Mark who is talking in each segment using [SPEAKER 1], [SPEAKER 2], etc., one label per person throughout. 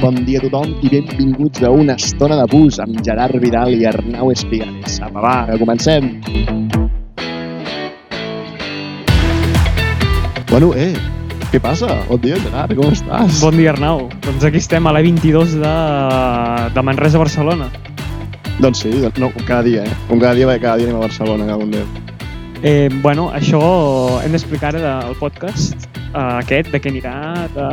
[SPEAKER 1] Bon dia a tothom i benvinguts a Una estona de bus amb Gerard Vidal i Arnau Espigares. Apa, va, que comencem! Bueno, eh, què passa? Bon dia, Gerard, com estàs?
[SPEAKER 2] Bon dia, Arnau. Doncs aquí estem a l'E22 de, de Manresa a Barcelona.
[SPEAKER 1] Doncs sí, doncs, no, com cada dia, eh? Com cada dia, perquè cada dia anem a Barcelona, cap un dia.
[SPEAKER 2] Eh, bueno, això hem d'explicar ara del podcast eh, aquest, de què anirà... De...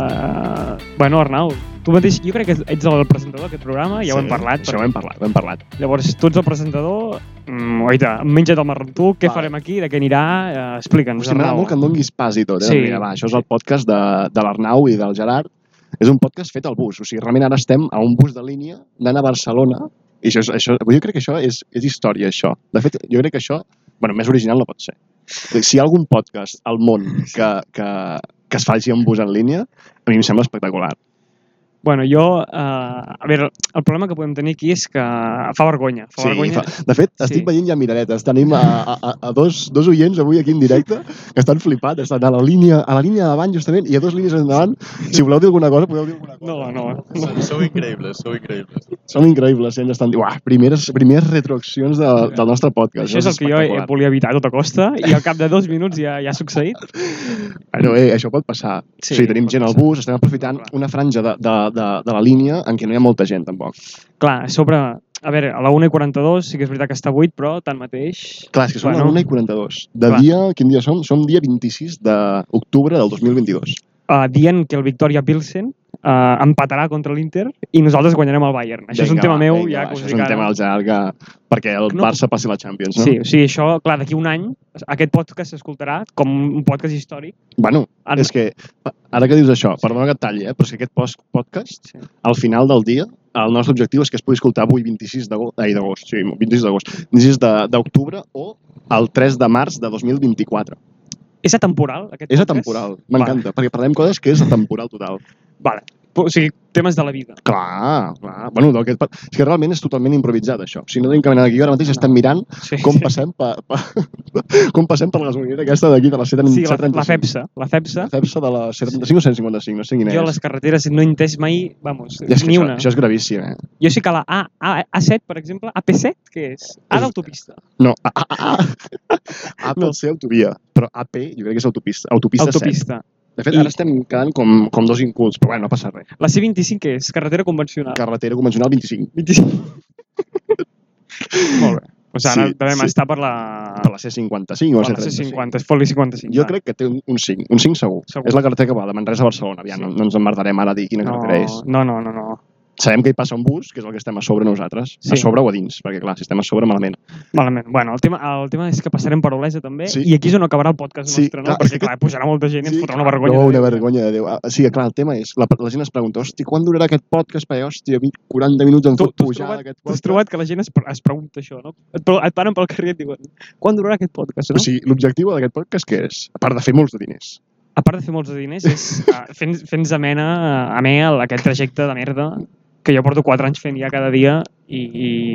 [SPEAKER 2] Bueno, Arnau, tu mateix, jo crec que ets el presentador d'aquest programa, Ah, ja ho hem parlat.
[SPEAKER 1] Això ho hem parlat, ho hem parlat.
[SPEAKER 2] Llavors, tu ets el presentador, mm, oita, menja't el marron tu, què
[SPEAKER 1] Va.
[SPEAKER 2] farem aquí, de què anirà, eh, explica'ns,
[SPEAKER 1] Hosti, m'agrada
[SPEAKER 2] Arnau.
[SPEAKER 1] molt que em donguis pas i tot. Eh?
[SPEAKER 2] Sí.
[SPEAKER 1] Sí. Mira, va, això és el podcast de, de l'Arnau i del Gerard. És un podcast fet al bus. O sigui, realment ara estem a un bus de línia anant a Barcelona. I això, és, això, jo crec que això és, és història, això. De fet, jo crec que això... bueno, més original no pot ser. Si hi ha algun podcast al món que, que, que es faci un bus en línia, a mi em sembla espectacular.
[SPEAKER 2] Bueno, jo... Eh, a veure, el problema que podem tenir aquí és que fa vergonya. Fa vergonya.
[SPEAKER 1] fa- De fet, estic
[SPEAKER 2] Sí.
[SPEAKER 1] veient ja miradetes. Tenim a, a, a- a dos, dos oients avui aquí en directe que estan flipats. Estan a la línia, a la línia de davant, justament, i a dues línies endavant. Si voleu dir alguna cosa, podeu dir alguna cosa.
[SPEAKER 2] No, no.
[SPEAKER 3] Sou, sou increïbles, sou increïbles.
[SPEAKER 1] Són increïbles, eh? ens estan dient, uah, primeres, primeres retroaccions de, del nostre podcast.
[SPEAKER 2] Això és el que jo eh,
[SPEAKER 1] espectacular.
[SPEAKER 2] volia evitar a tota costa i al cap de dos minuts ja, ja ha succeït.
[SPEAKER 1] Bueno, eh, això pot passar. Sí,
[SPEAKER 2] Sí,
[SPEAKER 1] o sigui, tenim
[SPEAKER 2] pot
[SPEAKER 1] gent al
[SPEAKER 2] passar.
[SPEAKER 1] bus, estem aprofitant
[SPEAKER 2] Clar.
[SPEAKER 1] una franja de, de, de, de la línia en què no hi ha molta gent, tampoc.
[SPEAKER 2] Clar, a sobre... A veure, a la 1.42 sí que és veritat que està buit, però tanmateix...
[SPEAKER 1] Clar, és que som
[SPEAKER 2] Bueno.
[SPEAKER 1] bueno, a 1 i 42. De
[SPEAKER 2] Clar.
[SPEAKER 1] dia, quin dia som? Som dia 26 d'octubre del 2022.
[SPEAKER 2] Uh, dient que el Victoria Pilsen uh, empatarà contra l'Inter i nosaltres guanyarem el Bayern. Això és un
[SPEAKER 1] Vinga,
[SPEAKER 2] tema
[SPEAKER 1] va,
[SPEAKER 2] meu,
[SPEAKER 1] vinga,
[SPEAKER 2] ja
[SPEAKER 1] va,
[SPEAKER 2] que us
[SPEAKER 1] Això és
[SPEAKER 2] dic
[SPEAKER 1] un
[SPEAKER 2] ara.
[SPEAKER 1] tema del Gerard que... perquè el
[SPEAKER 2] No.
[SPEAKER 1] Barça passi la Champions, no?
[SPEAKER 2] Sí, o sigui, això, clar, d'aquí un any aquest podcast s'escoltarà com un podcast històric.
[SPEAKER 1] Bueno,
[SPEAKER 2] En-
[SPEAKER 1] és que ara que dius això, perdona que et talli, eh? però és que aquest post- podcast
[SPEAKER 2] Sí.
[SPEAKER 1] al final del dia, el nostre objectiu és que es pugui escoltar avui 26 d'agost, ai, d'agost, sí, 26 d'agost, 26 de- d'octubre o el 3 de març de 2024.
[SPEAKER 2] És atemporal, aquest
[SPEAKER 1] És
[SPEAKER 2] podcast?
[SPEAKER 1] atemporal, m'encanta, perquè parlem coses que és atemporal total.
[SPEAKER 2] Vale. O sigui, temes de la vida.
[SPEAKER 1] Clar, clar. Bueno, del que, et par- és que realment és totalment improvisat, això. Si no tenim cap mena de guió, ara mateix estem mirant
[SPEAKER 2] Sí.
[SPEAKER 1] com passem per, per, com passem per la gasolinera aquesta d'aquí, de la C35.
[SPEAKER 2] Sí, la, la FEPSA. La FEPSA.
[SPEAKER 1] La FEPSA de la C35 o 155, no sé quina
[SPEAKER 2] Jo a
[SPEAKER 1] és.
[SPEAKER 2] les carreteres no he entès mai, vamos,
[SPEAKER 1] I és que
[SPEAKER 2] ni
[SPEAKER 1] això,
[SPEAKER 2] una.
[SPEAKER 1] això és gravíssim, eh?
[SPEAKER 2] Jo sé que la A, A, A7, per exemple, AP7, què és? A
[SPEAKER 1] És-
[SPEAKER 2] d'autopista.
[SPEAKER 1] No, ah, A, A, A, ah. A pot ser autovia, però AP jo crec que és autopista. Autopista,
[SPEAKER 2] Autopista.
[SPEAKER 1] 7. De fet,
[SPEAKER 2] I-
[SPEAKER 1] ara estem quedant com, com dos incults, però bueno, no passa res.
[SPEAKER 2] La C25 què és? Carretera convencional.
[SPEAKER 1] Carretera convencional 25.
[SPEAKER 2] 25. Molt bé. O sigui, ara
[SPEAKER 1] Sí,
[SPEAKER 2] sí, devem
[SPEAKER 1] sí.
[SPEAKER 2] sí. estar per la,
[SPEAKER 1] Per la C55 o
[SPEAKER 2] per
[SPEAKER 1] la
[SPEAKER 2] la
[SPEAKER 1] C35.
[SPEAKER 2] C50, és Foli 55.
[SPEAKER 1] Jo
[SPEAKER 2] va.
[SPEAKER 1] crec que té un, un 5, un 5 segur.
[SPEAKER 2] Segur.
[SPEAKER 1] És la carretera que va de Manresa a Barcelona. Aviam,
[SPEAKER 2] Sí.
[SPEAKER 1] no, no ens emmerdarem ara a dir quina
[SPEAKER 2] no,
[SPEAKER 1] carretera és.
[SPEAKER 2] no, no, no, no.
[SPEAKER 1] Sabem que hi passa un bus, que és el que estem a sobre nosaltres.
[SPEAKER 2] Sí.
[SPEAKER 1] A sobre o a dins, perquè clar, si estem a sobre, malament.
[SPEAKER 2] Malament. Bueno, el tema, el tema és que passarem per Olesa també
[SPEAKER 1] Sí.
[SPEAKER 2] sí. i aquí és on acabarà el podcast
[SPEAKER 1] Sí,
[SPEAKER 2] nostre,
[SPEAKER 1] clar, és
[SPEAKER 2] no?
[SPEAKER 1] que-
[SPEAKER 2] Perquè clar, pujarà molta gent i ens fotrà una vergonya.
[SPEAKER 1] No,
[SPEAKER 2] de
[SPEAKER 1] una
[SPEAKER 2] dir.
[SPEAKER 1] vergonya de Déu. Ah, Sí, clar, el tema és, la, la gent es pregunta, hosti, quan durarà aquest podcast? Perquè, hòstia, 20, 40 minuts em
[SPEAKER 2] Tu-
[SPEAKER 1] fot
[SPEAKER 2] tu has
[SPEAKER 1] pujar
[SPEAKER 2] trobat-
[SPEAKER 1] d'aquest
[SPEAKER 2] T'has
[SPEAKER 1] podcast.
[SPEAKER 2] trobat que la gent es, pre- es pregunta això, no? Et, pre- et paren pel carrer i et diuen quan durarà aquest podcast, no?
[SPEAKER 1] O sigui, l'objectiu d'aquest podcast què és? A part de fer molts de diners.
[SPEAKER 2] a part de fer molts de diners, és uh, fent-nos fent amena, eh, amè el- aquest trajecte de merda que jo porto 4 anys fent ja cada dia i,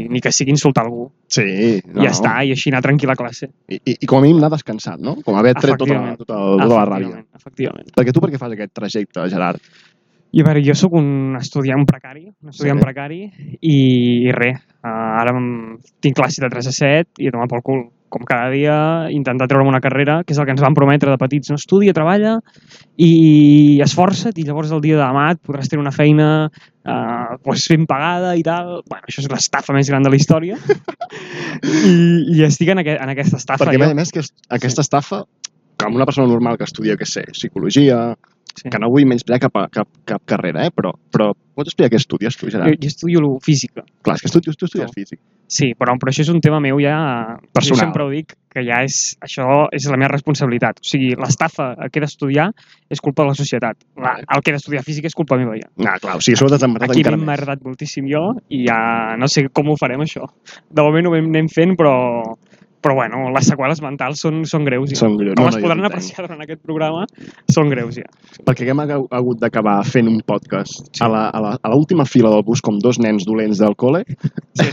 [SPEAKER 2] i ni que sigui insultar algú.
[SPEAKER 1] Sí.
[SPEAKER 2] No. I ja està, i així anar tranquil a classe.
[SPEAKER 1] I, i, i com a mínim anar descansat, no? Com haver tret tota la,
[SPEAKER 2] Efectivament.
[SPEAKER 1] tota, la- tota la ràbia.
[SPEAKER 2] Efectivament, Efectivament.
[SPEAKER 1] Perquè tu per què fas aquest trajecte, Gerard?
[SPEAKER 2] I a veure, jo sóc un estudiant precari, un estudiant
[SPEAKER 1] Sí.
[SPEAKER 2] sí. precari, i, i res, uh, ara em- tinc classe de 3 a 7 i a tomar pel cul com cada dia, intentar treure'm una carrera, que és el que ens van prometre de petits, no? Estudia, treballa i esforça't i llavors el dia de demà et podràs tenir una feina eh, pues, ben pagada i tal. Bueno, això és l'estafa més gran de la història. I, i estic en, aquest, en aquesta estafa.
[SPEAKER 1] Perquè, a
[SPEAKER 2] jo.
[SPEAKER 1] més a més, que est- aquesta estafa, com una persona normal que estudia, què sé, psicologia,
[SPEAKER 2] Sí.
[SPEAKER 1] que no vull menysprear cap, a- cap, cap carrera, eh? però, però pots explicar què estudies tu,
[SPEAKER 2] jo,
[SPEAKER 1] Gerard?
[SPEAKER 2] jo estudio lo- física.
[SPEAKER 1] Clar, és que estudies, tu estudies
[SPEAKER 2] No.
[SPEAKER 1] físic.
[SPEAKER 2] Sí, però, però això és un tema meu ja...
[SPEAKER 1] Personal.
[SPEAKER 2] Jo sempre ho dic, que ja és... Això és la meva responsabilitat. O sigui, l'estafa que he d'estudiar és culpa de la societat. La, el que he d'estudiar físic és culpa meva ja.
[SPEAKER 1] Ah, clar, o sigui, sobretot t'has emmerdat
[SPEAKER 2] Aquí
[SPEAKER 1] encara
[SPEAKER 2] m'he
[SPEAKER 1] més.
[SPEAKER 2] merdat moltíssim jo i ja no sé com ho farem, això. De moment ho anem fent, però Però bueno, les seqüeles mentals són, són greus. Ja.
[SPEAKER 1] Són greus.
[SPEAKER 2] Com es
[SPEAKER 1] jo
[SPEAKER 2] podran
[SPEAKER 1] entenc.
[SPEAKER 2] apreciar durant aquest programa, són greus ja.
[SPEAKER 1] Perquè hem ha- hagut d'acabar fent un podcast sí. a la- a la- a l'última fila del bus com dos nens dolents del col·le.
[SPEAKER 2] Sí.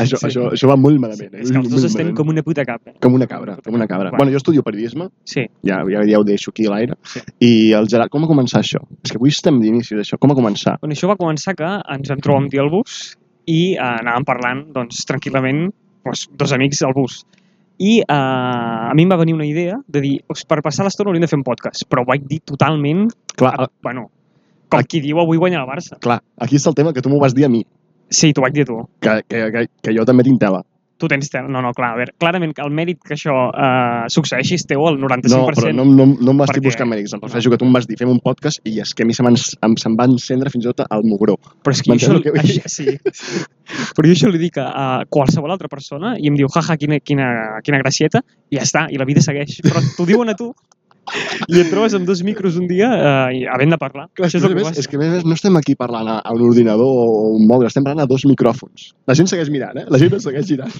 [SPEAKER 1] això,
[SPEAKER 2] Sí.
[SPEAKER 1] això, això va molt malament. Eh?
[SPEAKER 2] És que els dos
[SPEAKER 1] Molt
[SPEAKER 2] estem
[SPEAKER 1] malament.
[SPEAKER 2] com una puta capa.
[SPEAKER 1] com una cabra, com una cabra.
[SPEAKER 2] Bueno.
[SPEAKER 1] Bueno, jo estudio periodisme,
[SPEAKER 2] Sí.
[SPEAKER 1] ja, ja, ja ho deixo aquí a l'aire.
[SPEAKER 2] Sí.
[SPEAKER 1] I el Gerard, com va començar això? És que avui estem d'inici d'això. Com va començar?
[SPEAKER 2] Bueno, això va començar que ens vam trobar un dia al bus i eh, anàvem parlant doncs, tranquil·lament doncs, dos amics al bus. I eh, a mi em va venir una idea de dir, "Ost, per passar l'estona hauríem de fer un podcast, però ho vaig dir totalment,
[SPEAKER 1] Clar,
[SPEAKER 2] a,
[SPEAKER 1] a,
[SPEAKER 2] bueno, com qui diu avui guanya el Barça.
[SPEAKER 1] clar, aquí està el tema que tu m'ho vas dir a mi,
[SPEAKER 2] Sí, t'ho vaig dir a tu.
[SPEAKER 1] que, que, que, que jo també tinc tela.
[SPEAKER 2] Tu tens... tela. No, no, clar, a veure, clarament que el mèrit que això eh, succeeixi és teu al 95%.
[SPEAKER 1] No, però no, no, no em vas dir
[SPEAKER 2] perquè-
[SPEAKER 1] buscar mèrits, em refereixo que tu em vas dir fem un podcast i és que a mi se, m'ens- em, se'm va encendre fins i tot el mugró.
[SPEAKER 2] Però és que jo això,
[SPEAKER 1] M'entens el que vull
[SPEAKER 2] això, sí, sí. Però jo això li dic a, a qualsevol altra persona i em diu, jaja, quina, quina, quina gracieta, i ja està, i la vida segueix. Però t'ho diuen a tu i et trobes amb dos micros un dia eh, i havent de parlar.
[SPEAKER 1] Clar,
[SPEAKER 2] això és
[SPEAKER 1] a
[SPEAKER 2] el que
[SPEAKER 1] més,
[SPEAKER 2] passa.
[SPEAKER 1] és que a més, no estem aquí parlant a, a un ordinador o un mòbil, estem parlant a dos micròfons. La gent segueix mirant, eh? La gent ens segueix girant.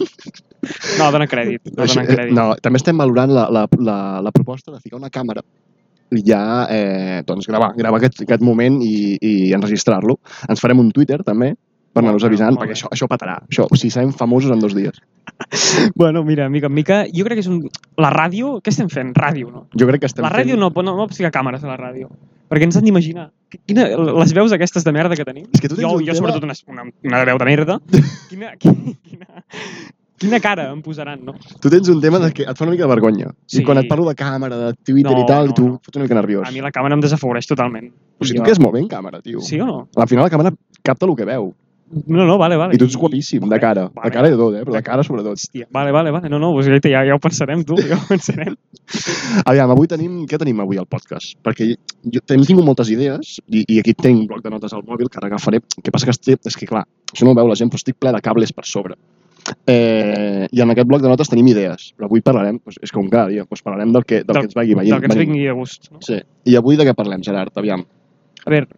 [SPEAKER 2] No, dona crèdit. No,
[SPEAKER 1] Això,
[SPEAKER 2] dona
[SPEAKER 1] eh,
[SPEAKER 2] crèdit.
[SPEAKER 1] no, també estem valorant la, la, la, la proposta de ficar una càmera i ja eh, doncs gravar, gravar aquest, aquest moment i, i enregistrar-lo. Ens farem un Twitter també per anar-nos
[SPEAKER 2] bé,
[SPEAKER 1] avisant,
[SPEAKER 2] molt
[SPEAKER 1] perquè
[SPEAKER 2] bé.
[SPEAKER 1] això, això patarà. Això, o sigui, serem famosos en dos dies.
[SPEAKER 2] Bueno, mira, mica en mica, jo crec que és un... La ràdio, què estem fent? Ràdio, no?
[SPEAKER 1] Jo crec que estem
[SPEAKER 2] La ràdio
[SPEAKER 1] fent...
[SPEAKER 2] no, no, no pots ficar càmeres a la ràdio, perquè ens han d'imaginar. Qu- Quina, les veus aquestes de merda que tenim?
[SPEAKER 1] És que tu tens
[SPEAKER 2] jo,
[SPEAKER 1] un
[SPEAKER 2] jo
[SPEAKER 1] tema-
[SPEAKER 2] sobretot una, una, una veu de merda. Quina, quina, quina, quina cara em posaran, no?
[SPEAKER 1] Tu tens un tema de que et fa una mica de vergonya.
[SPEAKER 2] Sí.
[SPEAKER 1] I quan et parlo de càmera, de Twitter i
[SPEAKER 2] No,
[SPEAKER 1] tal,
[SPEAKER 2] no,
[SPEAKER 1] tu
[SPEAKER 2] no.
[SPEAKER 1] et fots una mica nerviós.
[SPEAKER 2] A mi la càmera em desafavoreix totalment.
[SPEAKER 1] O sigui,
[SPEAKER 2] Jo-
[SPEAKER 1] tu quedes molt bé en càmera, tio.
[SPEAKER 2] Sí o no?
[SPEAKER 1] Al final la càmera capta el que veu.
[SPEAKER 2] No, no, vale, vale.
[SPEAKER 1] I tu ets guapíssim, de cara.
[SPEAKER 2] Vale.
[SPEAKER 1] De cara i de tot, eh? Però de cara sobretot.
[SPEAKER 2] Hòstia, vale, vale, vale. No, no, pues ja, ja ho pensarem, tu, ja ho pensarem.
[SPEAKER 1] Aviam, avui tenim... Què tenim avui al podcast? Perquè jo hem tingut moltes idees i, i aquí tinc un bloc de notes al mòbil que ara agafaré. El que passa que estic, és que, clar, això no ho veu la gent, però estic ple de cables per sobre. Eh, I en aquest bloc de notes tenim idees, però avui parlarem, doncs, és com cada dia, doncs parlarem del que, del,
[SPEAKER 2] Del-
[SPEAKER 1] que ens vagi veient.
[SPEAKER 2] Del que ens vingui a gust. No?
[SPEAKER 1] Sí. I avui de què parlem, Gerard? Aviam.
[SPEAKER 2] A veure,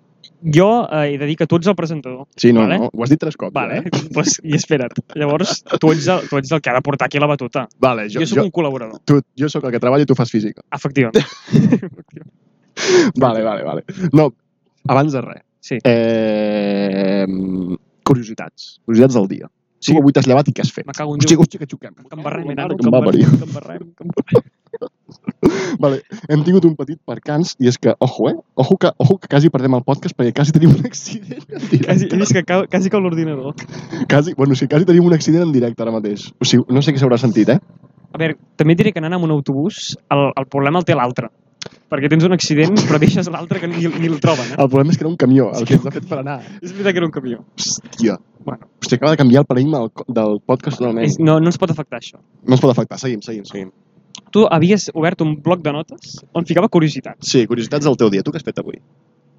[SPEAKER 2] jo eh, he de dir que tu ets el presentador.
[SPEAKER 1] Sí, no,
[SPEAKER 2] Vale.
[SPEAKER 1] no, ho has dit tres cops.
[SPEAKER 2] Vale,
[SPEAKER 1] Eh?
[SPEAKER 2] pues, i espera't. Llavors, tu ets, el, tu ets el que ha de portar aquí la batuta.
[SPEAKER 1] Vale,
[SPEAKER 2] Jo,
[SPEAKER 1] jo,
[SPEAKER 2] jo sóc
[SPEAKER 1] jo,
[SPEAKER 2] un col·laborador.
[SPEAKER 1] tu, jo sóc el que treballa i tu fas física.
[SPEAKER 2] Efectivament.
[SPEAKER 1] Vale, vale, vale. No, abans de res.
[SPEAKER 2] Sí.
[SPEAKER 1] Eh, curiositats. Curiositats del dia. Sí.
[SPEAKER 2] Sí.
[SPEAKER 1] Tu avui t'has llevat i què has fet?
[SPEAKER 2] Me cago en
[SPEAKER 1] Hòstia,
[SPEAKER 2] Déu.
[SPEAKER 1] hòstia, que xoquem.
[SPEAKER 2] Que em barrem, eh, nano,
[SPEAKER 1] Que em va parir.
[SPEAKER 2] que em barrem, que em barrem.
[SPEAKER 1] Vale, hem tingut un petit percans i és que, ojo, eh? Ojo que, ojo que quasi perdem el podcast perquè quasi tenim un accident en directe.
[SPEAKER 2] Quasi, he vist que cau, quasi cau l'ordinador.
[SPEAKER 1] Quasi, bueno, sí, quasi tenim un accident en directe ara mateix. O sigui, no sé què s'haurà sentit, eh?
[SPEAKER 2] A veure, també et diré que anant amb un autobús el, el problema el té l'altre. Perquè tens un accident però deixes l'altre que ni, ni el troben. Eh?
[SPEAKER 1] El problema és que era un camió el
[SPEAKER 2] Sí,
[SPEAKER 1] que ens ha fet frenar.
[SPEAKER 2] És veritat que era un camió.
[SPEAKER 1] Hòstia.
[SPEAKER 2] Bueno.
[SPEAKER 1] Hòstia, acaba de canviar el paradigma del, co- del podcast
[SPEAKER 2] És,
[SPEAKER 1] totalment.
[SPEAKER 2] no, no ens pot afectar això.
[SPEAKER 1] No ens pot afectar. Seguim, seguim, seguim.
[SPEAKER 2] Tu havies obert un bloc de notes on ficava curiositat.
[SPEAKER 1] Sí, curiositats del teu dia. Tu què has fet avui?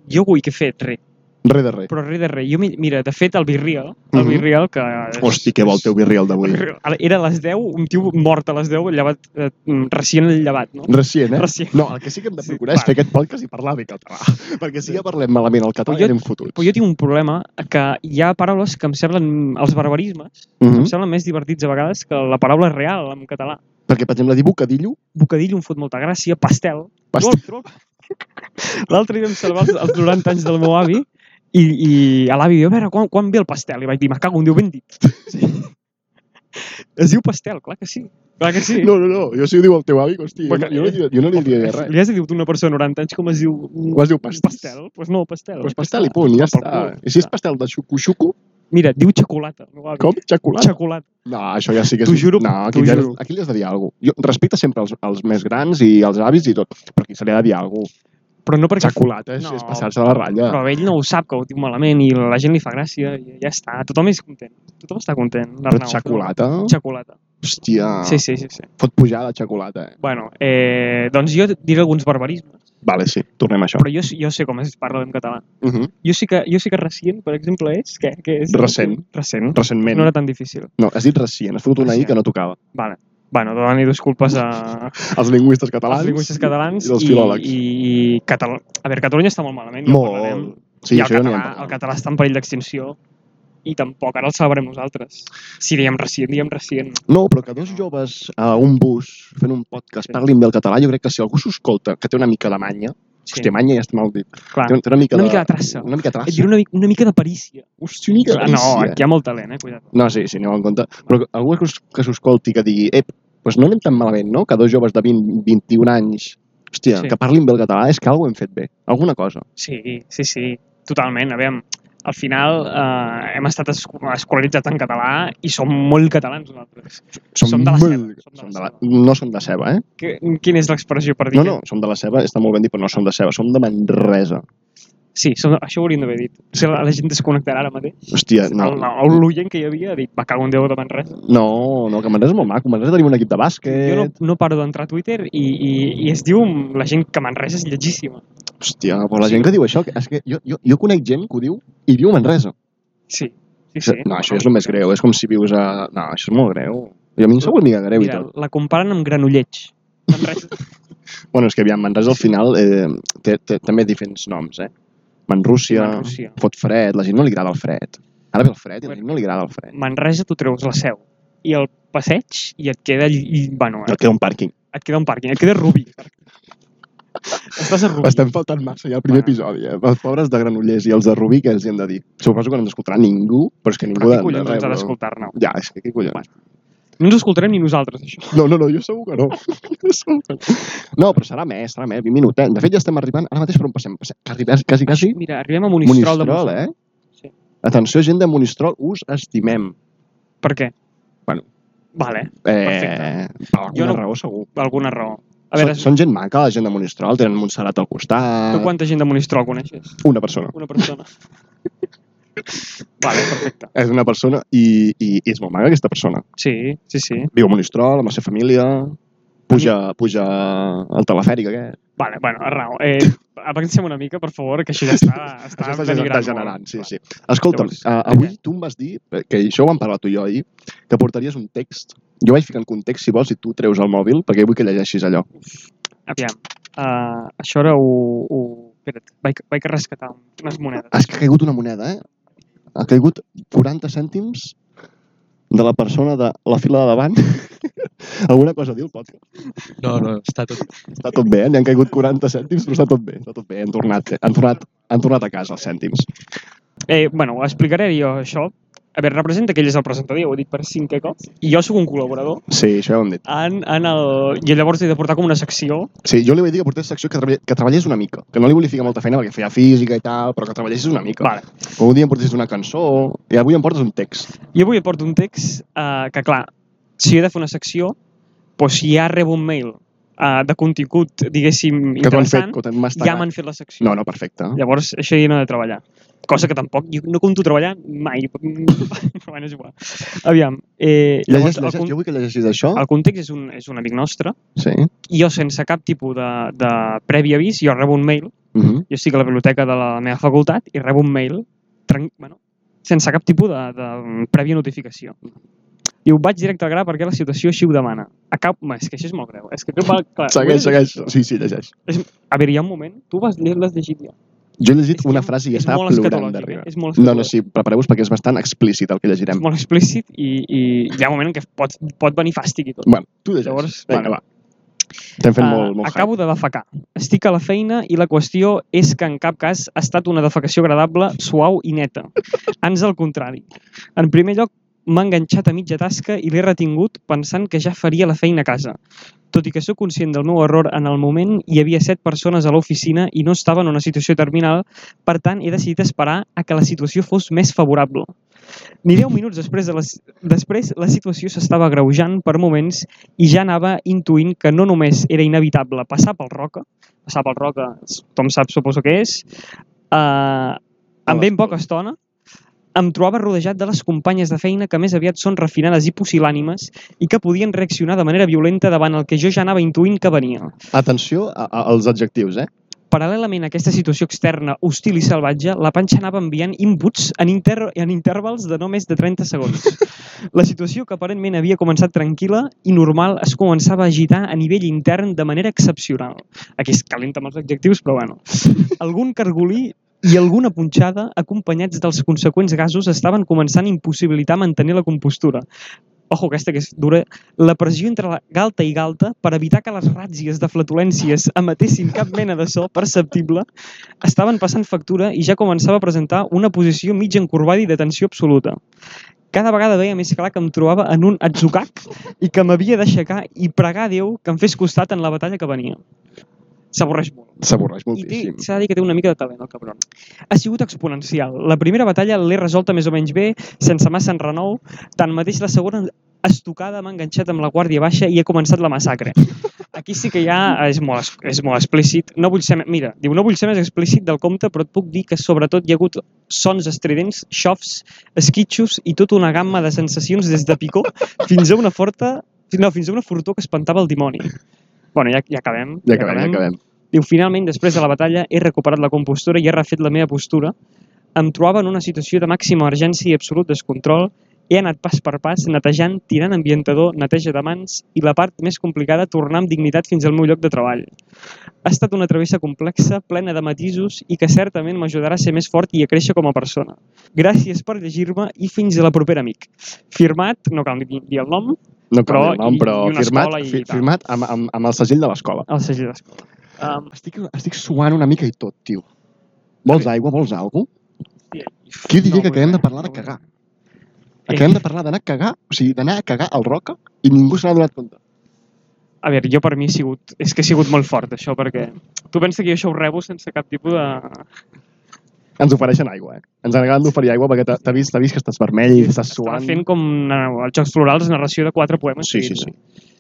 [SPEAKER 2] Jo avui que he fet res,
[SPEAKER 1] Re de re.
[SPEAKER 2] però res de res. Jo, mi- mira, de fet, el Virreal, el
[SPEAKER 1] Mhm.
[SPEAKER 2] Virreal que...
[SPEAKER 1] Hosti, que bo el teu birriel d'avui.
[SPEAKER 2] Era a les 10, un tio mort a les 10, llevat, eh, recient llevat, no?
[SPEAKER 1] Recient, eh?
[SPEAKER 2] Recient.
[SPEAKER 1] No, el que sí que hem de
[SPEAKER 2] Sí,
[SPEAKER 1] procurar
[SPEAKER 2] va.
[SPEAKER 1] és fer aquest podcast i parlar bé català. Perquè si ja parlem malament el català,
[SPEAKER 2] Però jo-
[SPEAKER 1] ja anem fotuts.
[SPEAKER 2] Però jo tinc un problema que hi ha paraules que em semblen, els barbarismes,
[SPEAKER 1] Mhm.
[SPEAKER 2] em semblen més divertits a vegades que la paraula real en català.
[SPEAKER 1] Perquè, per exemple, dir bocadillo,
[SPEAKER 2] Bocadillo em fot molta gràcia, pastel...
[SPEAKER 1] past...
[SPEAKER 2] Pastel. L'altre dia em salvava els, els 90 anys del meu avi i, i a l'avi diu, a veure, quan, quan ve el pastel? I vaig dir, me cago, un diu ben dit. Sí. Es diu pastel, clar que sí. Clar que sí.
[SPEAKER 1] No, no, no, jo si ho diu el teu avi, hosti, jo,
[SPEAKER 2] Perquè-
[SPEAKER 1] jo, no li- jo no eh, li diria res.
[SPEAKER 2] Li has de dir tu a una persona de 90 anys com es diu...
[SPEAKER 1] Ho has dit
[SPEAKER 2] Pastel?
[SPEAKER 1] pastel.
[SPEAKER 2] pastel? Pues no, pastel.
[SPEAKER 1] Pues pastel i punt, ja
[SPEAKER 2] Pel
[SPEAKER 1] està.
[SPEAKER 2] cul.
[SPEAKER 1] I si és pastel de xucu-xucu,
[SPEAKER 2] Mira, diu xocolata, el meu avi.
[SPEAKER 1] com? Xacolata?
[SPEAKER 2] Xocolata.
[SPEAKER 1] No, això ja sí que és...
[SPEAKER 2] T'ho juro,
[SPEAKER 1] no, aquí,
[SPEAKER 2] t'ho
[SPEAKER 1] li has-
[SPEAKER 2] juro.
[SPEAKER 1] aquí li has de dir alguna cosa. Jo respecte sempre els, els més grans i els avis i tot, però aquí se li ha de dir alguna cosa.
[SPEAKER 2] Però no perquè...
[SPEAKER 1] Xacolata és,
[SPEAKER 2] No.
[SPEAKER 1] és passar-se de la ratlla.
[SPEAKER 2] Però ell no ho sap, que ho diu malament, i la gent li fa gràcia, i ja està. Tothom és content. Tothom està content.
[SPEAKER 1] Però
[SPEAKER 2] l'Arnau.
[SPEAKER 1] xocolata?
[SPEAKER 2] Xocolata.
[SPEAKER 1] Hòstia,
[SPEAKER 2] Sí, sí, sí, sí.
[SPEAKER 1] pot pujar de xocolata, eh?
[SPEAKER 2] Bueno, eh, doncs jo diré alguns barbarismes,
[SPEAKER 1] Vale, sí, tornem a això.
[SPEAKER 2] però jo, jo sé com es parla en català.
[SPEAKER 1] Uh -huh.
[SPEAKER 2] Jo sí que, jo sí que recient, per exemple, és... Què, què és?
[SPEAKER 1] Recent.
[SPEAKER 2] Recent.
[SPEAKER 1] Recentment.
[SPEAKER 2] No era tan difícil.
[SPEAKER 1] No, has dit recient, has fotut una I que no tocava.
[SPEAKER 2] Vale. Bueno, donar-li disculpes a,
[SPEAKER 1] Els lingüistes catalans.
[SPEAKER 2] als lingüistes catalans
[SPEAKER 1] i dels filòlegs.
[SPEAKER 2] I, i Catalu... A veure, Catalunya està molt malament. ja ho
[SPEAKER 1] Molt.
[SPEAKER 2] parlarem.
[SPEAKER 1] Sí,
[SPEAKER 2] I el
[SPEAKER 1] això ja n'hi
[SPEAKER 2] català,
[SPEAKER 1] hem parlat.
[SPEAKER 2] el català està en perill d'extinció. i tampoc ara el celebrem nosaltres. Si diem recient, diem recient.
[SPEAKER 1] No, però que dos joves a un bus fent un podcast
[SPEAKER 2] Sí.
[SPEAKER 1] parlin bé el català, jo crec que si algú s'ho escolta, que té una mica de manya, sí. hòstia, manya ja està mal dit,
[SPEAKER 2] clar.
[SPEAKER 1] té, té una mica,
[SPEAKER 2] Una mica de traça.
[SPEAKER 1] Una mica de
[SPEAKER 2] Et
[SPEAKER 1] traça.
[SPEAKER 2] diré Ah, una, mica- una mica de parícia.
[SPEAKER 1] Hòstia, una mica de
[SPEAKER 2] Clar, no,
[SPEAKER 1] traça.
[SPEAKER 2] aquí hi ha molt talent, eh? Cuida't.
[SPEAKER 1] No, sí, sí, aneu en compte. Però que algú que us- que s'ho escolti que digui, ep, doncs no anem tan malament, no? Que dos joves de 20, 21 anys, hòstia,
[SPEAKER 2] Sí.
[SPEAKER 1] sí. que parlin bé el català, és que alguna hem fet bé. Alguna cosa.
[SPEAKER 2] Sí, sí, sí, totalment. A veure, al final eh, hem estat es- escolaritzats en català i som molt catalans nosaltres.
[SPEAKER 1] Som,
[SPEAKER 2] Som de la
[SPEAKER 1] molt...
[SPEAKER 2] ceba, som de la
[SPEAKER 1] Som de la... No som de ceba, eh?
[SPEAKER 2] Que, quina és l'expressió per dir?
[SPEAKER 1] No, no, som de la ceba, està molt ben dit, però no som de ceba, som de Manresa.
[SPEAKER 2] Sí, som, això ho hauríem d'haver dit. O sigui, la, la gent desconnectarà ara mateix.
[SPEAKER 1] Hòstia, no,
[SPEAKER 2] El- el- L'oient que hi havia ha dit, va, cago en Déu de Manresa.
[SPEAKER 1] no, no, que Manresa és molt maco. A Manresa tenim un equip de bàsquet...
[SPEAKER 2] Jo no, no paro d'entrar a Twitter i, i, i es diu la gent que Manresa és llegíssima.
[SPEAKER 1] Hòstia, però la gent que diu això, que- és que jo, jo, jo conec gent que ho diu i viu a Manresa.
[SPEAKER 2] Sí, sí,
[SPEAKER 1] Sí,
[SPEAKER 2] sí.
[SPEAKER 1] no, això és el més greu, és com si vius a... No, això és molt greu. Jo a mi em sap una mica greu i
[SPEAKER 2] Mira,
[SPEAKER 1] tot.
[SPEAKER 2] la comparen amb Granollets. Manresa,
[SPEAKER 1] Bueno, és que aviam, Manresa al final eh, té, té, també diferents noms, eh? Manrússia,
[SPEAKER 2] Manrússia.
[SPEAKER 1] fot fred, la gent no li agrada el fred. Ara ve el fred i la
[SPEAKER 2] Bueno.
[SPEAKER 1] gent no li agrada el fred.
[SPEAKER 2] Manresa tu treus la seu i el passeig i et queda, lli- lli- bueno,
[SPEAKER 1] No queda un pàrquing.
[SPEAKER 2] et queda un pàrquing, et queda Rubí. Estàs a Rubí.
[SPEAKER 1] Estem faltant massa ja al primer
[SPEAKER 2] Bueno.
[SPEAKER 1] episodi, eh? Els pobres de Granollers i els de Rubí, que els hi hem de dir? Suposo que no ens escoltarà ningú, però és que ningú
[SPEAKER 2] Però
[SPEAKER 1] de,
[SPEAKER 2] què collons
[SPEAKER 1] de
[SPEAKER 2] ens
[SPEAKER 1] res,
[SPEAKER 2] ha
[SPEAKER 1] no.
[SPEAKER 2] d'escoltar-ne?
[SPEAKER 1] Ja, és que què collons.
[SPEAKER 2] No ens escoltarem ni nosaltres, això.
[SPEAKER 1] No, no, no, jo segur que no. Jo segur que no. no, però serà més, serà més, 20 minutets. De fet, ja estem arribant, ara mateix per on passem? Passem Quasi, quasi, quasi
[SPEAKER 2] Mira, arribem a
[SPEAKER 1] Monistrol,
[SPEAKER 2] Monistrol, de Montserrat.
[SPEAKER 1] eh?
[SPEAKER 2] Sí.
[SPEAKER 1] Atenció, gent de Monistrol, us estimem.
[SPEAKER 2] Per què?
[SPEAKER 1] Bueno.
[SPEAKER 2] Vale,
[SPEAKER 1] Eh,
[SPEAKER 2] Perfecte.
[SPEAKER 1] per alguna
[SPEAKER 2] Jo no-
[SPEAKER 1] no... raó, segur.
[SPEAKER 2] alguna raó.
[SPEAKER 1] A
[SPEAKER 2] A veure,
[SPEAKER 1] veure, són, són gent maca, la gent de Monistrol, tenen Montserrat al costat...
[SPEAKER 2] tu quanta gent de Monistrol coneixes?
[SPEAKER 1] Una persona.
[SPEAKER 2] Una persona. vale, perfecte.
[SPEAKER 1] És una persona i, i, i és molt maca aquesta persona.
[SPEAKER 2] Sí, sí, sí.
[SPEAKER 1] Viu a Monistrol, amb la seva família, puja, puja al telefèric aquest.
[SPEAKER 2] Vale, bueno, raó. Eh, avancem una mica, per favor, que això ja està, està,
[SPEAKER 1] Això
[SPEAKER 2] denigrant Ah, molt.
[SPEAKER 1] degenerant, sí, sí. Escolta'm,
[SPEAKER 2] Llavors,
[SPEAKER 1] uh, avui tu em vas dir, que això ho vam parlar tu i jo ahir, que portaries un text. Jo vaig ficar en context, si vols, i tu treus el mòbil, perquè vull que llegeixis allò.
[SPEAKER 2] Aviam, uh, això ara ho... ho... Espera't, vaig, vaig a rescatar unes monedes.
[SPEAKER 1] És que ha caigut una moneda, eh? Ha caigut 40 cèntims de la persona de la fila de davant. Alguna cosa a dir el podcast?
[SPEAKER 3] No, no, està tot...
[SPEAKER 1] Està tot bé, eh? N'hi han caigut 40 cèntims, però està tot bé. Està tot bé, han tornat, eh? han tornat, han tornat a casa els cèntims.
[SPEAKER 2] Eh, bueno, ho explicaré jo això. A veure, representa que ell és el presentador, ja ho he dit per cinquè cop, i jo sóc un col·laborador
[SPEAKER 1] Sí, això ja ho hem dit.
[SPEAKER 2] en, en el... I llavors he de portar com una secció.
[SPEAKER 1] Sí, jo li vaig dir que portés secció que, treballés, que treballés una mica, que no li volia ficar molta feina perquè feia física i tal, però que treballessis una mica.
[SPEAKER 2] Vale.
[SPEAKER 1] Com un dia em portessis una cançó i avui em portes un text.
[SPEAKER 2] I avui et porto un text eh, que, clar, si he de fer una secció, doncs si ja rebo un mail eh, de contingut, diguéssim,
[SPEAKER 1] Que t'ho han fet,
[SPEAKER 2] interessant,
[SPEAKER 1] que t'han mastegat.
[SPEAKER 2] ja m'han fet la secció.
[SPEAKER 1] No, no, perfecte.
[SPEAKER 2] Llavors, això ja no he de treballar. Cosa que tampoc, jo no compto treballar mai. Però bueno, és igual. Aviam, eh, llavors,
[SPEAKER 1] Llegeix,
[SPEAKER 2] el,
[SPEAKER 1] llegeix,
[SPEAKER 2] con-
[SPEAKER 1] jo vull que llegeixis això.
[SPEAKER 2] el context és un, és un amic nostre.
[SPEAKER 1] Sí.
[SPEAKER 2] I jo, sense cap tipus de, de previ avís, jo rebo un mail.
[SPEAKER 1] Mm -hmm.
[SPEAKER 2] Jo estic a la biblioteca de la meva facultat i rebo un mail tran- bueno, sense cap tipus de, de prèvia notificació. I ho vaig directe al gra perquè la situació així ho demana. A cap... home, És que això és molt greu. És que... Clar, clar,
[SPEAKER 1] Segueix, segueix. Sí, sí, llegeix.
[SPEAKER 2] A veure, hi ha un moment... Tu vas- l'has llegit ja.
[SPEAKER 1] Jo he llegit
[SPEAKER 2] És que
[SPEAKER 1] una
[SPEAKER 2] és-
[SPEAKER 1] frase i
[SPEAKER 2] és
[SPEAKER 1] estava
[SPEAKER 2] molt
[SPEAKER 1] plorant
[SPEAKER 2] escatològic,
[SPEAKER 1] de riure.
[SPEAKER 2] eh? És molt
[SPEAKER 1] No, no,
[SPEAKER 2] escatològic.
[SPEAKER 1] sí, prepareu-vos perquè és bastant explícit el que
[SPEAKER 2] és
[SPEAKER 1] llegirem.
[SPEAKER 2] molt explícit i, i hi ha un moment en què pot, pot venir fàstic i tot.
[SPEAKER 1] Bueno, tu llegeix.
[SPEAKER 2] Llavors,
[SPEAKER 1] Vinga,
[SPEAKER 2] bueno.
[SPEAKER 1] va. Estem fent
[SPEAKER 2] Ah,
[SPEAKER 1] molt, molt
[SPEAKER 2] acabo de defecar. Estic a la feina i la qüestió és que en cap cas ha estat una defecació agradable, suau i neta. Ans al contrari. En primer lloc, m'ha enganxat a mitja tasca i l'he retingut pensant que ja faria la feina a casa. Tot i que sóc conscient del meu error, en el moment hi havia set persones a l'oficina i no estava en una situació terminal, per tant he decidit esperar a que la situació fos més favorable. Ni 10 minuts després, de la, després la situació s'estava agreujant per moments i ja anava intuint que no només era inevitable passar pel Roca, passar pel Roca, tothom sap, suposo que és, eh, en ben poca estona em trobava rodejat de les companyes de feina que més aviat són refinades i pusil·lànimes i que podien reaccionar de manera violenta davant el que jo ja anava intuint que venia.
[SPEAKER 1] fàcil. Atenció a, a, als adjectius, eh?
[SPEAKER 2] Paral·lelament a aquesta situació externa hostil i salvatge, la panxa anava enviant inputs en, inter en intervals de no més de 30 segons. La situació, que aparentment havia començat tranquil·la i normal, es començava a agitar a nivell intern de manera excepcional. Aquí es calenta amb els adjectius, però bueno. Algun cargolí i alguna punxada acompanyats dels conseqüents gasos estaven començant a impossibilitar mantenir la compostura. Ojo, aquesta que és dura. La pressió entre la galta i galta per evitar que les ràtzies de flatulències emetessin cap mena de so perceptible estaven passant factura i ja començava a presentar una posició mig encorbada i de tensió absoluta. Cada vegada veia més clar que em trobava en un atzucac i que m'havia d'aixecar i pregar a Déu que em fes costat en la batalla que venia. S'avorreix molt.
[SPEAKER 1] S'avorreix
[SPEAKER 2] I té-
[SPEAKER 1] moltíssim.
[SPEAKER 2] s'ha de dir que té una mica de talent, el cabron. Ha sigut exponencial. La primera batalla l'he resolta més o menys bé, sense massa en renou. Tanmateix, la segona estocada m'ha enganxat amb la guàrdia baixa i he començat la massacre. Aquí sí que ja és molt, es- és molt explícit. No vull ser... me- Mira, diu, no vull ser més explícit del compte, però et puc dir que sobretot hi ha hagut sons estridents, xofs, esquitxos i tota una gamma de sensacions des de picor fins a una forta... No, fins a una fortor que espantava el dimoni. Bueno, ja, ja acabem.
[SPEAKER 1] Ja acabem, ja acabem.
[SPEAKER 2] Diu, finalment, després de la batalla, he recuperat la compostura i he refet la meva postura. Em trobava en una situació de màxima emergència i absolut descontrol. He anat pas per pas, netejant, tirant ambientador, neteja de mans i la part més complicada, tornar amb dignitat fins al meu lloc de treball. Ha estat una travessa complexa, plena de matisos i que certament m'ajudarà a ser més fort i a créixer com a persona. Gràcies per llegir-me i fins a la propera, amic. Firmat, no cal dir dir el nom,
[SPEAKER 1] No cal
[SPEAKER 2] però-
[SPEAKER 1] dir el nom,
[SPEAKER 2] i-
[SPEAKER 1] però
[SPEAKER 2] i una
[SPEAKER 1] firmat,
[SPEAKER 2] escola i
[SPEAKER 1] fi,
[SPEAKER 2] tal.
[SPEAKER 1] firmat amb, amb, amb el segell de l'escola.
[SPEAKER 2] el segell d'escola. Um,
[SPEAKER 1] Estic, estic suant una mica i tot, tio. Vols aigua? Vols alguna cosa? Qui diria que acabem de parlar de cagar? Acabem de parlar d'anar a cagar, o sigui, d'anar a cagar al Roca i ningú se n'ha donat compte.
[SPEAKER 2] A veure, jo per mi ha sigut... És que ha sigut molt fort, això, perquè... Tu pensa que jo això ho rebo sense cap tipus de...
[SPEAKER 1] Ens ofereixen aigua, eh? Ens acaben d'oferir aigua perquè t'ha- t'ha vist, t'ha vist que estàs vermell i estàs
[SPEAKER 2] Estava
[SPEAKER 1] suant.
[SPEAKER 2] fent com eh, els Jocs Florals, narració de quatre poemes.
[SPEAKER 1] Sí, sí,
[SPEAKER 2] seguits.
[SPEAKER 1] sí.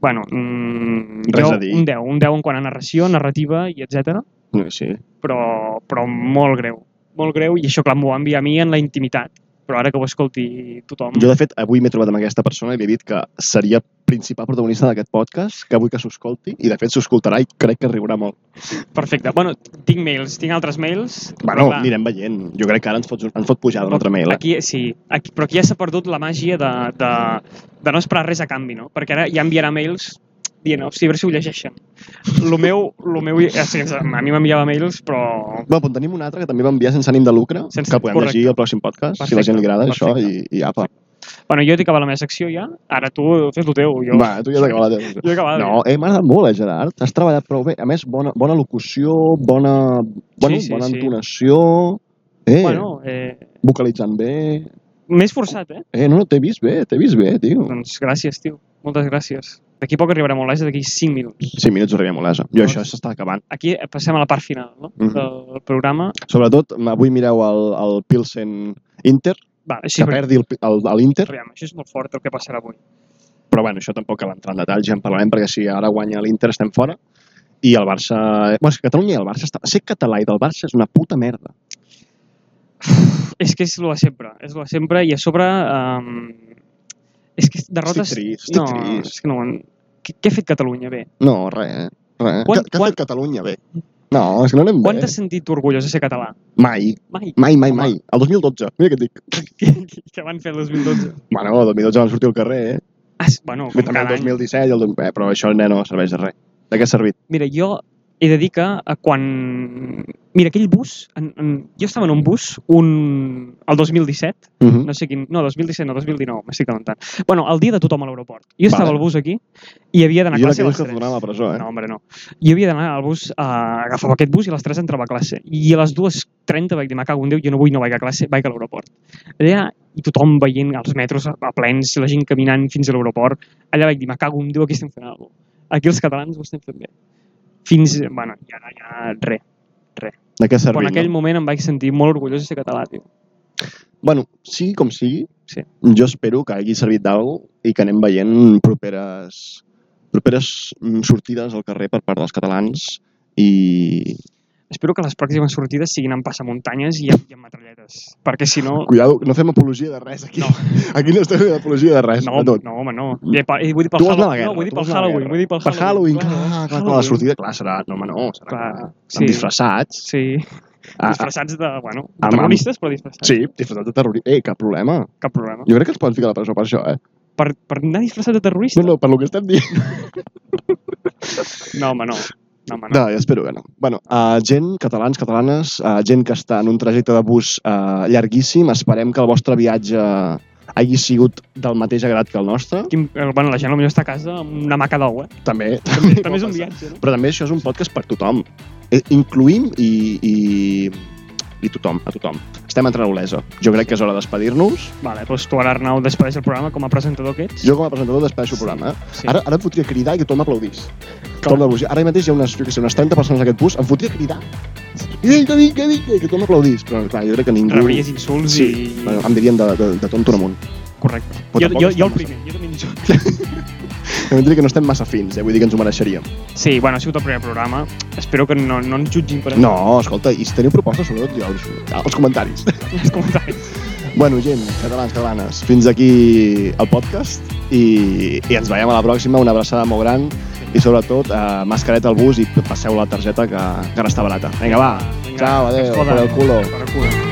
[SPEAKER 2] Bueno, mm,
[SPEAKER 1] Res
[SPEAKER 2] jo
[SPEAKER 1] a dir.
[SPEAKER 2] un 10, un 10 en quant a narració, narrativa i etc.
[SPEAKER 1] No, sí.
[SPEAKER 2] Però, però molt greu, molt greu, i això clar m'ho va enviar a mi en la intimitat. Però ara que ho escolti tothom...
[SPEAKER 1] Jo, de fet, avui m'he trobat amb aquesta persona i li he dit que seria principal protagonista d'aquest podcast, que vull que s'ho escolti, i de fet s'ho escoltarà i crec que riurà molt.
[SPEAKER 2] Perfecte. Bueno, tinc mails, tinc altres mails.
[SPEAKER 1] Bueno,
[SPEAKER 2] Clar.
[SPEAKER 1] anirem veient. Jo crec que ara ens fots, ens fot pujar d'un altre mail. Eh?
[SPEAKER 2] Aquí, sí, aquí, però aquí ja s'ha perdut la màgia de, de, de no esperar res a canvi, no? Perquè ara ja enviarà mails dient, hòstia, a veure si ho llegeixen. Lo meu, lo meu, ja sé, a mi m'enviava mails, però...
[SPEAKER 1] Bueno, però en tenim un altre que també va enviar sense ànim de lucre,
[SPEAKER 2] Sense-
[SPEAKER 1] que podem
[SPEAKER 2] correcte.
[SPEAKER 1] llegir al pròxim podcast, si a la
[SPEAKER 2] Perfecte,
[SPEAKER 1] gent li agrada això, i,
[SPEAKER 2] perfecte.
[SPEAKER 1] i apa.
[SPEAKER 2] Bueno, jo he acabat la meva secció ja, ara tu fes lo teu. Jo,
[SPEAKER 1] Va, tu ja has acabat la teva.
[SPEAKER 2] jo he acabat.
[SPEAKER 1] No, eh, m'ha agradat molt, eh, Gerard. Has treballat prou bé. A més, bona, bona locució, bona, bueno,
[SPEAKER 2] sí,
[SPEAKER 1] bona
[SPEAKER 2] sí.
[SPEAKER 1] entonació, eh, bueno.
[SPEAKER 2] Bueno, eh,
[SPEAKER 1] vocalitzant bé.
[SPEAKER 2] m'he esforçat, eh?
[SPEAKER 1] Eh, no, no, t'he vist bé, t'he vist bé, tio.
[SPEAKER 2] Doncs gràcies, tio. Moltes gràcies. D'aquí a poc arribarem a l'Esa, d'aquí 5 minuts.
[SPEAKER 1] 5 minuts arribem a l'ESA. Jo això s'està acabant.
[SPEAKER 2] Aquí passem a la part final no?
[SPEAKER 1] Mhm.
[SPEAKER 2] del programa.
[SPEAKER 1] Sobretot, avui mireu el, el Pilsen Inter,
[SPEAKER 2] Va,
[SPEAKER 1] que
[SPEAKER 2] així,
[SPEAKER 1] perdi el- el- el l'Inter,
[SPEAKER 2] aviam, això és molt fort el que passarà avui.
[SPEAKER 1] però bueno, això tampoc cal entrar en detall, ja en parlarem, perquè si ara guanya l'Inter estem fora, i el Barça... eh, Bueno, és que Catalunya i el Barça... Està... Ser català i del Barça és una puta merda.
[SPEAKER 2] És que és lo de sempre, és lo de sempre i a sobre... Um, és que derrotes...
[SPEAKER 1] Estic trist, estic
[SPEAKER 2] no,
[SPEAKER 1] trist.
[SPEAKER 2] és que no... Què, què ha fet Catalunya bé?
[SPEAKER 1] No, eh, res, res.
[SPEAKER 2] Quan-
[SPEAKER 1] Quan, que, que
[SPEAKER 2] quan-
[SPEAKER 1] quan... Catalunya bé. No, és que no anem
[SPEAKER 2] Quan
[SPEAKER 1] bé.
[SPEAKER 2] t'has sentit orgullós de ser català?
[SPEAKER 1] Mai,
[SPEAKER 2] Mai.
[SPEAKER 1] mai, mai,
[SPEAKER 2] Home.
[SPEAKER 1] mai. El 2012, mira què et dic.
[SPEAKER 2] Què, què van fer el 2012?
[SPEAKER 1] Bueno, el 2012 vam sortir al carrer, eh?
[SPEAKER 2] Ah, és- bueno, com
[SPEAKER 1] També
[SPEAKER 2] cada
[SPEAKER 1] el
[SPEAKER 2] any.
[SPEAKER 1] 2017 i el... 2000, Eh, però això nen, no serveix de res. De què ha servit?
[SPEAKER 2] Mira, jo he de dir que eh, quan... Mira, aquell bus... En, en... Jo estava en un bus un... el 2017,
[SPEAKER 1] Uh -huh.
[SPEAKER 2] no sé quin... No, 2017, no, 2019, m'estic calentant. Bueno, el dia de tothom a l'aeroport. Jo estava
[SPEAKER 1] Vale.
[SPEAKER 2] al bus aquí i havia d'anar a
[SPEAKER 1] Jo era que
[SPEAKER 2] classe a
[SPEAKER 1] dius
[SPEAKER 2] les
[SPEAKER 1] que
[SPEAKER 2] 3.
[SPEAKER 1] tornava a la presó, eh?
[SPEAKER 2] No, home, no. Jo havia d'anar al bus, eh, agafava aquest bus i a les 3 entrava a classe. I a les 2.30 vaig dir, me cago en Déu, jo no vull, no vaig a classe, vaig a l'aeroport. Allà, i tothom veient els metros a a plens, la gent caminant fins a l'aeroport, allà vaig dir, me cago en Déu, aquí estem fent alguna cosa. Aquí els catalans ho estem fent bé. Fins, bueno, ja, ja, res.
[SPEAKER 1] De què ha
[SPEAKER 2] Però
[SPEAKER 1] servit?
[SPEAKER 2] en
[SPEAKER 1] no?
[SPEAKER 2] aquell moment em vaig sentir molt orgullós de ser català, tio.
[SPEAKER 1] Bueno, sigui com sigui,
[SPEAKER 2] Sí.
[SPEAKER 1] jo espero que hagi servit d'alguna i que anem veient properes, properes mm, sortides al carrer per part dels catalans i...
[SPEAKER 2] Espero que les pròximes sortides siguin amb passamuntanyes i amb, i amb metralletes, perquè si no...
[SPEAKER 1] Cuidado, no fem apologia de res aquí.
[SPEAKER 2] No.
[SPEAKER 1] Aquí no estem fent apologia de res.
[SPEAKER 2] No,
[SPEAKER 1] de tot.
[SPEAKER 2] no, home, no. Eh, pa- eh, Vull dir pel
[SPEAKER 1] Tu vols anar a la
[SPEAKER 2] Halloween,
[SPEAKER 1] guerra.
[SPEAKER 2] no, vull dir
[SPEAKER 1] tu
[SPEAKER 2] pel
[SPEAKER 1] vols anar a la
[SPEAKER 2] Halloween,
[SPEAKER 1] guerra.
[SPEAKER 2] vull dir pel
[SPEAKER 1] Per Halloween, Ah,
[SPEAKER 2] Halloween.
[SPEAKER 1] clar, clar, clar, la sortida, clar, serà... No, home, no, serà clar.
[SPEAKER 2] Clar,
[SPEAKER 1] Estan disfressats.
[SPEAKER 2] Sí,
[SPEAKER 1] Ah, ah,
[SPEAKER 2] disfressats de, bueno,
[SPEAKER 1] amb-
[SPEAKER 2] de terroristes, però disfressats.
[SPEAKER 1] sí, disfressats de terroristes. Eh, cap problema.
[SPEAKER 2] Cap problema.
[SPEAKER 1] Jo crec que ens poden ficar a la presó per això, eh?
[SPEAKER 2] Per, per anar disfressat de terrorista?
[SPEAKER 1] No, no, per lo que estem dient.
[SPEAKER 2] no home, no. No, home, no.
[SPEAKER 1] No, jo espero que no. Bueno, uh, gent, catalans, catalanes, uh, gent que està en un trajecte de bus uh, llarguíssim, esperem que el vostre viatge hagi sigut del mateix agrat que el nostre.
[SPEAKER 2] Quin, eh, bueno, la gent potser està a casa amb una maca d'ou, eh?
[SPEAKER 1] També, també,
[SPEAKER 2] També
[SPEAKER 1] pot
[SPEAKER 2] és un
[SPEAKER 1] passar.
[SPEAKER 2] viatge, no?
[SPEAKER 1] Però també això és un podcast per tothom. Eh, Incluïm i, i, i tothom, a tothom. Estem entrant a Olesa. Jo crec que és hora d'espedir-nos.
[SPEAKER 2] Vale, doncs tu ara, Arnau, despedeix el programa com a presentador que ets.
[SPEAKER 1] Jo com a presentador despedeixo el programa. Eh?
[SPEAKER 2] Sí.
[SPEAKER 1] Ara, ara em fotria cridar i que tothom aplaudís. Com de bus. Ara mateix hi ha unes, jo què sé, unes 30 persones en aquest bus, em fotria cridar. Ei, que vinc, que vinc, que tothom aplaudís. Però clar, jo crec que ningú...
[SPEAKER 2] rebries insults
[SPEAKER 1] Sí,
[SPEAKER 2] i...
[SPEAKER 1] bueno, em dirien de, de, de tonto amunt.
[SPEAKER 2] Correcte.
[SPEAKER 1] Però
[SPEAKER 2] Jo,
[SPEAKER 1] tampoc
[SPEAKER 2] jo,
[SPEAKER 1] estem
[SPEAKER 2] jo el
[SPEAKER 1] massa-
[SPEAKER 2] primer, jo també dic
[SPEAKER 1] Em diria que no estem massa fins, eh? vull dir que ens ho mereixeríem.
[SPEAKER 2] Sí, bueno, ha sigut el primer programa. Espero que no, no ens jutgin per
[SPEAKER 1] No, escolta, i si teniu propostes, sobretot, ja, els, als comentaris.
[SPEAKER 2] els
[SPEAKER 1] Ah,
[SPEAKER 2] comentaris.
[SPEAKER 1] bueno, gent, catalans, catalanes, fins aquí el podcast i, i ens veiem a la pròxima, una abraçada molt gran i sobretot eh, mascareta al bus i passeu la targeta que, que ara està barata. Vinga, va,
[SPEAKER 2] Vinga,
[SPEAKER 1] Ciao,
[SPEAKER 2] que es
[SPEAKER 1] adeu,
[SPEAKER 2] jodan.
[SPEAKER 1] por el culo.
[SPEAKER 2] Por el culo.